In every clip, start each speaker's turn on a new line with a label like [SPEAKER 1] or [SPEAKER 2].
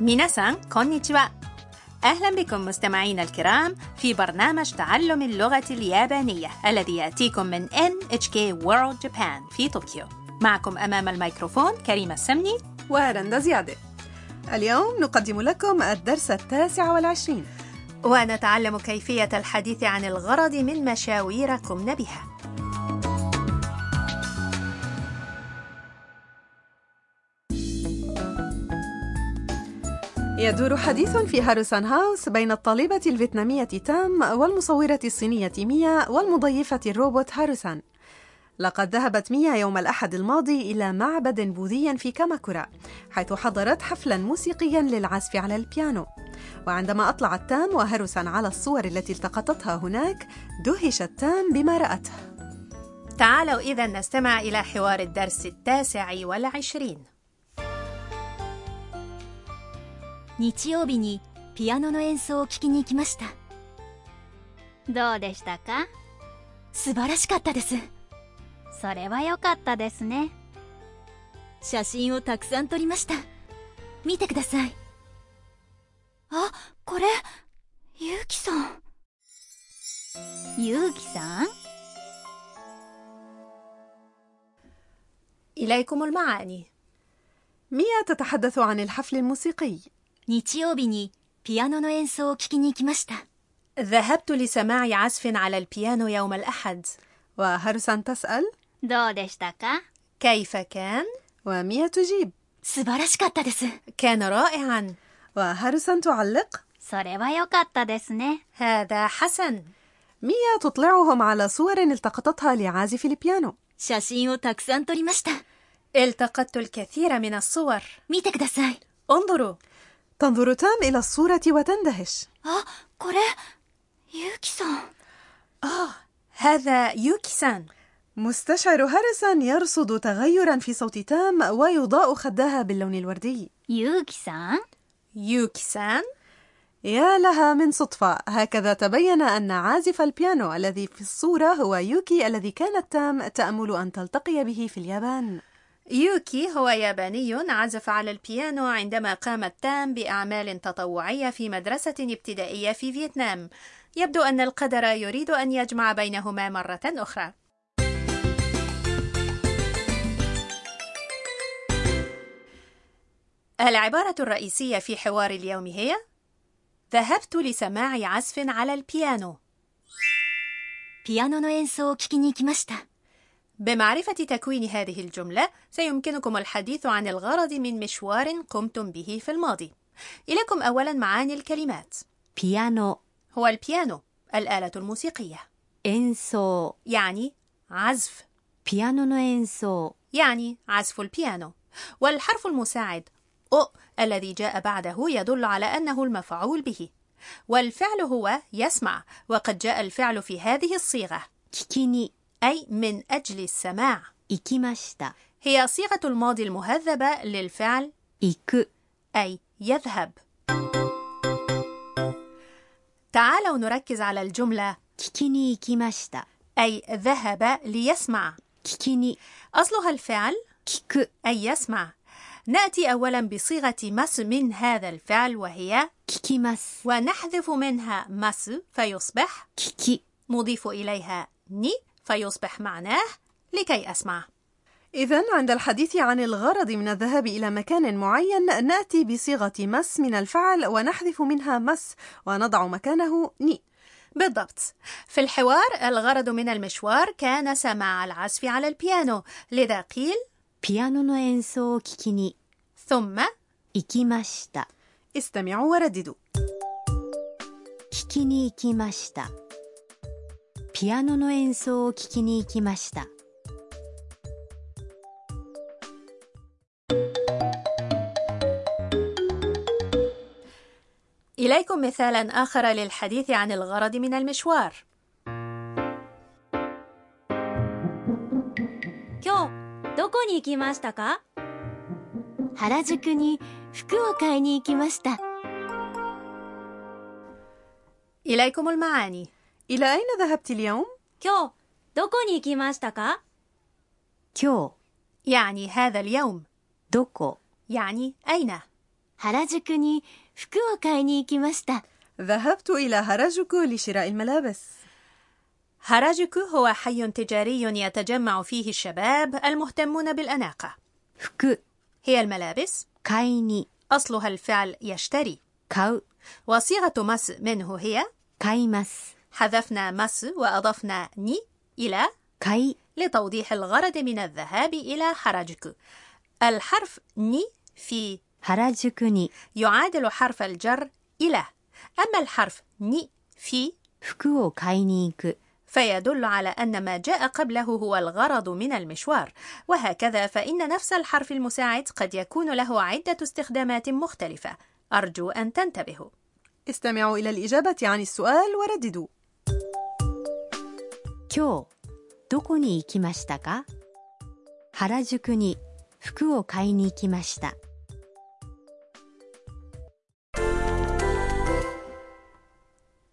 [SPEAKER 1] ميناسان كونيتشوا أهلا بكم مستمعينا الكرام في برنامج تعلم اللغة اليابانية الذي يأتيكم من NHK World Japan في طوكيو معكم أمام الميكروفون كريمة السمني
[SPEAKER 2] ورندا زيادة اليوم نقدم لكم الدرس التاسع والعشرين
[SPEAKER 1] ونتعلم كيفية الحديث عن الغرض من مشاوير قمنا بها
[SPEAKER 2] يدور حديث في هاروسان هاوس بين الطالبة الفيتنامية تام والمصورة الصينية ميا والمضيفة الروبوت هاروسان لقد ذهبت ميا يوم الأحد الماضي إلى معبد بوذي في كاماكورا حيث حضرت حفلا موسيقيا للعزف على البيانو وعندما أطلعت تام وهاروسان على الصور التي التقطتها هناك دهشت تام بما رأته
[SPEAKER 1] تعالوا إذا نستمع إلى حوار الدرس التاسع والعشرين
[SPEAKER 3] 日曜日にピアノの演奏を聴きに行きました
[SPEAKER 4] どうでしたか
[SPEAKER 3] 素晴らしかったです
[SPEAKER 4] それは良かったですね
[SPEAKER 3] 写真をたくさん撮りました見てくださいあこれゆうきさん
[SPEAKER 4] ゆうきさん
[SPEAKER 1] إليكم المعاني
[SPEAKER 2] ميا تتحدث عن الحفل الموسيقي
[SPEAKER 3] 日曜日にピアノの演奏を聴きに行きました
[SPEAKER 1] ذهبت لسماع عزف على البيانو يوم الأحد
[SPEAKER 2] وهاروسان تسأل
[SPEAKER 4] どうでしたか
[SPEAKER 1] كيف كان؟
[SPEAKER 2] وميا تجيب
[SPEAKER 3] 素晴らしかったです
[SPEAKER 1] كان رائعا
[SPEAKER 2] وهاروسان تعلق
[SPEAKER 4] それは良かったですね
[SPEAKER 1] هذا حسن
[SPEAKER 2] ميا تطلعهم على صور التقطتها لعازف البيانو
[SPEAKER 3] 写真をたくさん撮りました
[SPEAKER 1] التقطت الكثير من الصور
[SPEAKER 3] 見てください
[SPEAKER 1] انظروا
[SPEAKER 2] تنظر تام إلى الصورة وتندهش
[SPEAKER 3] あこれゆうきさん
[SPEAKER 1] هذا يوكي-سان
[SPEAKER 2] مستشعر هارسون يرصد تغيرا في صوت تام ويضاء خدها باللون الوردي
[SPEAKER 4] ゆうきさん
[SPEAKER 1] يوكي-سان
[SPEAKER 2] يا لها من صدفة هكذا تبين أن عازف البيانو الذي في الصورة هو يوكي الذي كانت تام تأمل أن تلتقي به في اليابان
[SPEAKER 1] يوكي هو ياباني عزف على البيانو عندما قامت تام بأعمال تطوعية في مدرسة ابتدائية في فيتنام يبدو أن القدر يريد أن يجمع بينهما مرة أخرى العبارة الرئيسية في حوار اليوم هي ذهبت لسماع عزف على البيانو
[SPEAKER 3] ピアノの演奏を聴きに行きました
[SPEAKER 1] بمعرفة تكوين هذه الجملة سيمكنكم الحديث عن الغرض من مشوار قمتم به في الماضي. إليكم أولا معاني الكلمات
[SPEAKER 3] ピアノ
[SPEAKER 1] هو البيانو الآلة الموسيقية
[SPEAKER 3] 演奏
[SPEAKER 1] يعني عزف
[SPEAKER 3] ピアノの演奏
[SPEAKER 1] يعني عزف البيانو والحرف المساعد أو الذي جاء بعده يدل على أنه المفعول به والفعل هو يسمع وقد جاء الفعل في هذه الصيغة
[SPEAKER 3] 聞きに
[SPEAKER 1] أي من أجل السماع
[SPEAKER 3] 行きました
[SPEAKER 1] هي صيغة الماضي المهذبة للفعل
[SPEAKER 3] 行く
[SPEAKER 1] أي يذهب. تعالوا نركز على الجملة
[SPEAKER 3] 聞きに行きました
[SPEAKER 1] أي ذهب ليسمع.
[SPEAKER 3] 聞きに
[SPEAKER 1] أصلها الفعل
[SPEAKER 3] 聞く
[SPEAKER 1] أي يسمع. نأتي أولا بصيغة مس من هذا الفعل وهي
[SPEAKER 3] 聞きます
[SPEAKER 1] ونحذف منها مس فيصبح
[SPEAKER 3] 聞き
[SPEAKER 1] نضيف إليها ني فيصبح معناه لكي أسمع.
[SPEAKER 2] إذا عند الحديث عن الغرض من الذهاب إلى مكان معين نأتي بصيغة مس من الفعل ونحذف منها مس ونضع مكانه ني
[SPEAKER 1] بالضبط في الحوار الغرض من المشوار كان سماع العزف على البيانو لذا قيل
[SPEAKER 3] ピアノの演奏を聞きに
[SPEAKER 1] ثم
[SPEAKER 3] 行きました
[SPEAKER 2] استمعوا ورددوا
[SPEAKER 3] 聞きに行きましたピアノの演奏を聞きに行きました
[SPEAKER 1] إليكم مثالا آخر للحديث عن الغرض من المشوار
[SPEAKER 3] 今日どこに行きましたか原宿に服を買いに行きました
[SPEAKER 1] إليكم المعاني
[SPEAKER 2] إلى أين ذهبت اليوم؟
[SPEAKER 3] 今日どこに行きましたか今日
[SPEAKER 1] يعني هذا اليوم
[SPEAKER 3] どこ
[SPEAKER 1] يعني أين
[SPEAKER 3] 原宿に服を買いに行きました
[SPEAKER 2] ذهبت إلى هاراجوكو لشراء الملابس
[SPEAKER 1] هاراجوكو هو حي تجاري يتجمع فيه الشباب المهتمون بالأناقة
[SPEAKER 3] 服
[SPEAKER 1] هي الملابس
[SPEAKER 3] 買いに
[SPEAKER 1] أصلها الفعل يشتري
[SPEAKER 3] 買う
[SPEAKER 1] وصيغة مس منه هي
[SPEAKER 3] 買います
[SPEAKER 1] حذفنا مس وأضفنا ني إلى
[SPEAKER 3] 買い
[SPEAKER 1] لتوضيح الغرض من الذهاب إلى هاراجوكو الحرف ني في
[SPEAKER 3] 原宿に
[SPEAKER 1] يعادل حرف الجر إلى أما الحرف ني في
[SPEAKER 3] 服を買いに行く
[SPEAKER 1] فيدل على أن ما جاء قبله هو الغرض من المشوار وهكذا فإن نفس الحرف المساعد قد يكون له عدة استخدامات مختلفة أرجو أن تنتبهوا
[SPEAKER 2] استمعوا إلى الإجابة عن السؤال ورددوا
[SPEAKER 3] 今日どこに行きましたか原宿に服を買いに行きました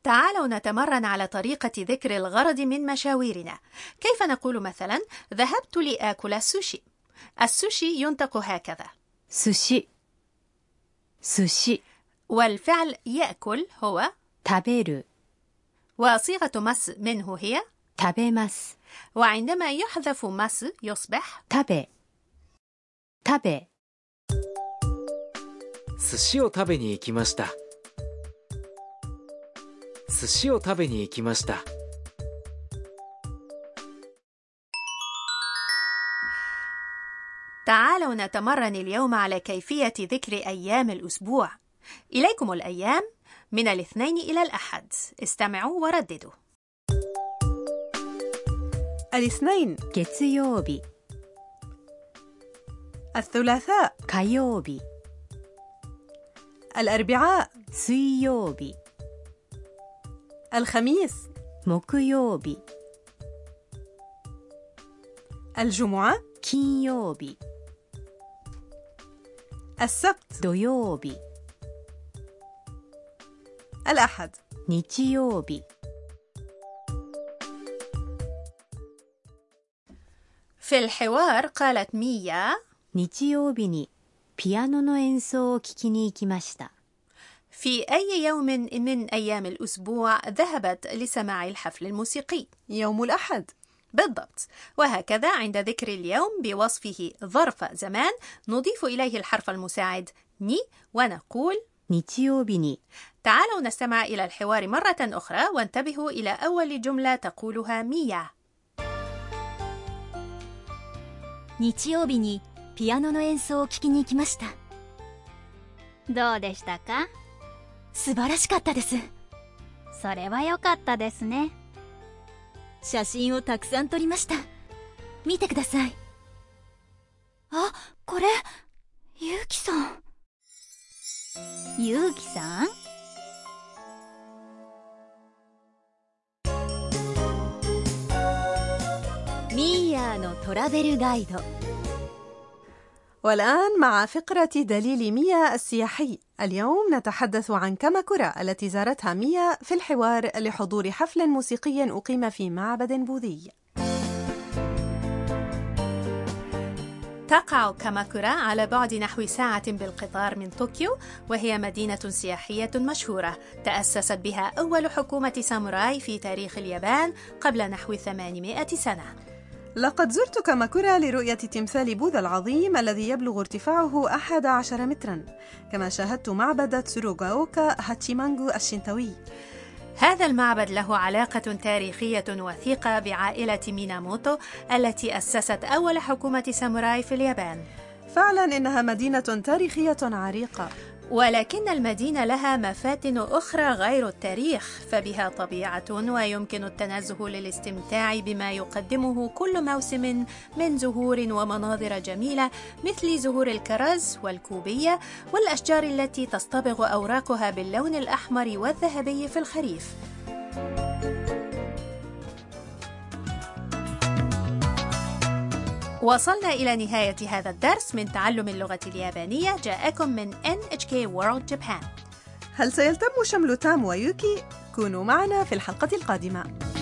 [SPEAKER 1] تعالوا نتمرن على طريقة ذكر الغرض من مشاويرنا كيف نقول مثلا ذهبت لآكل السوشي السوشي ينطق هكذا
[SPEAKER 3] 寿司寿司
[SPEAKER 1] والفعل يأكل هو
[SPEAKER 3] 食べる
[SPEAKER 1] وصيغة مس منه هي
[SPEAKER 3] 食べます
[SPEAKER 1] وعندما يحذف مس يصبح
[SPEAKER 3] 食べ食べ
[SPEAKER 5] 寿司を食べに行きました寿司を食べに行きました
[SPEAKER 1] تعالوا نتمرن اليوم على كيفية ذكر أيام الأسبوع. إليكم الأيام من الاثنين إلى الأحد. استمعوا ورددوا.
[SPEAKER 2] الاثنين
[SPEAKER 3] 月曜日
[SPEAKER 2] الثلاثاء
[SPEAKER 3] 火曜日
[SPEAKER 2] الأربعاء
[SPEAKER 3] 水曜日
[SPEAKER 2] الخميس
[SPEAKER 3] 木曜日
[SPEAKER 2] الجمعة
[SPEAKER 3] 金曜日
[SPEAKER 2] السبت
[SPEAKER 3] 土曜日
[SPEAKER 2] الأحد
[SPEAKER 3] 日曜日
[SPEAKER 1] في الحوار قالت ميا
[SPEAKER 3] 日曜日にピアノの演奏を聴きに行きました
[SPEAKER 1] في أي يوم من أيام الأسبوع ذهبت لسماع الحفل الموسيقي؟
[SPEAKER 2] يوم الأحد
[SPEAKER 1] بالضبط وهكذا عند ذكر اليوم بوصفه ظرف زمان نضيف إليه الحرف المساعد ني ونقول
[SPEAKER 3] 日曜日に
[SPEAKER 1] تعالوا نستمع إلى الحوار مرة أخرى وانتبهوا إلى أول جملة تقولها ميا
[SPEAKER 4] 日曜日にピアノの演奏を聴きに行きましたどうでしたか
[SPEAKER 3] 素晴らしかったです
[SPEAKER 4] それは良かったですね
[SPEAKER 3] 写真をたくさん撮りました見てください
[SPEAKER 4] あこれゆうきさんゆうきさん
[SPEAKER 3] ミーヤーのトラベルガイド
[SPEAKER 2] والآن مع فقرة دليل ميا السياحي اليوم نتحدث عن كاماكورا التي زارتها ميا في الحوار لحضور حفل موسيقي أقيم في معبد بوذي
[SPEAKER 1] تقع كاماكورا على بعد نحو ساعة بالقطار من طوكيو وهي مدينة سياحية مشهورة تأسست بها أول حكومة ساموراي في تاريخ اليابان قبل نحو 800 سنة
[SPEAKER 2] لقد زرت كاماكورا لرؤية تمثال بوذا العظيم الذي يبلغ ارتفاعه 11 مترا كما شاهدت معبد تسوروغاوكا هاتشيمانجو الشنتوي
[SPEAKER 1] هذا المعبد له علاقة تاريخية وثيقة بعائلة ميناموتو التي أسست أول حكومة ساموراي في اليابان
[SPEAKER 2] فعلا إنها مدينة تاريخية عريقة
[SPEAKER 1] ولكن المدينة لها مفاتن أخرى غير التاريخ فبها طبيعة ويمكن التنزه للاستمتاع بما يقدمه كل موسم من زهور ومناظر جميلة مثل زهور الكرز والكوبية والأشجار التي تصطبغ أوراقها باللون الأحمر والذهبي في الخريف وصلنا إلى نهاية هذا الدرس من تعلم اللغة اليابانية جاءكم من NHK World Japan
[SPEAKER 2] هل سيلتم شمل تام ويوكي؟ كونوا معنا في الحلقة القادمة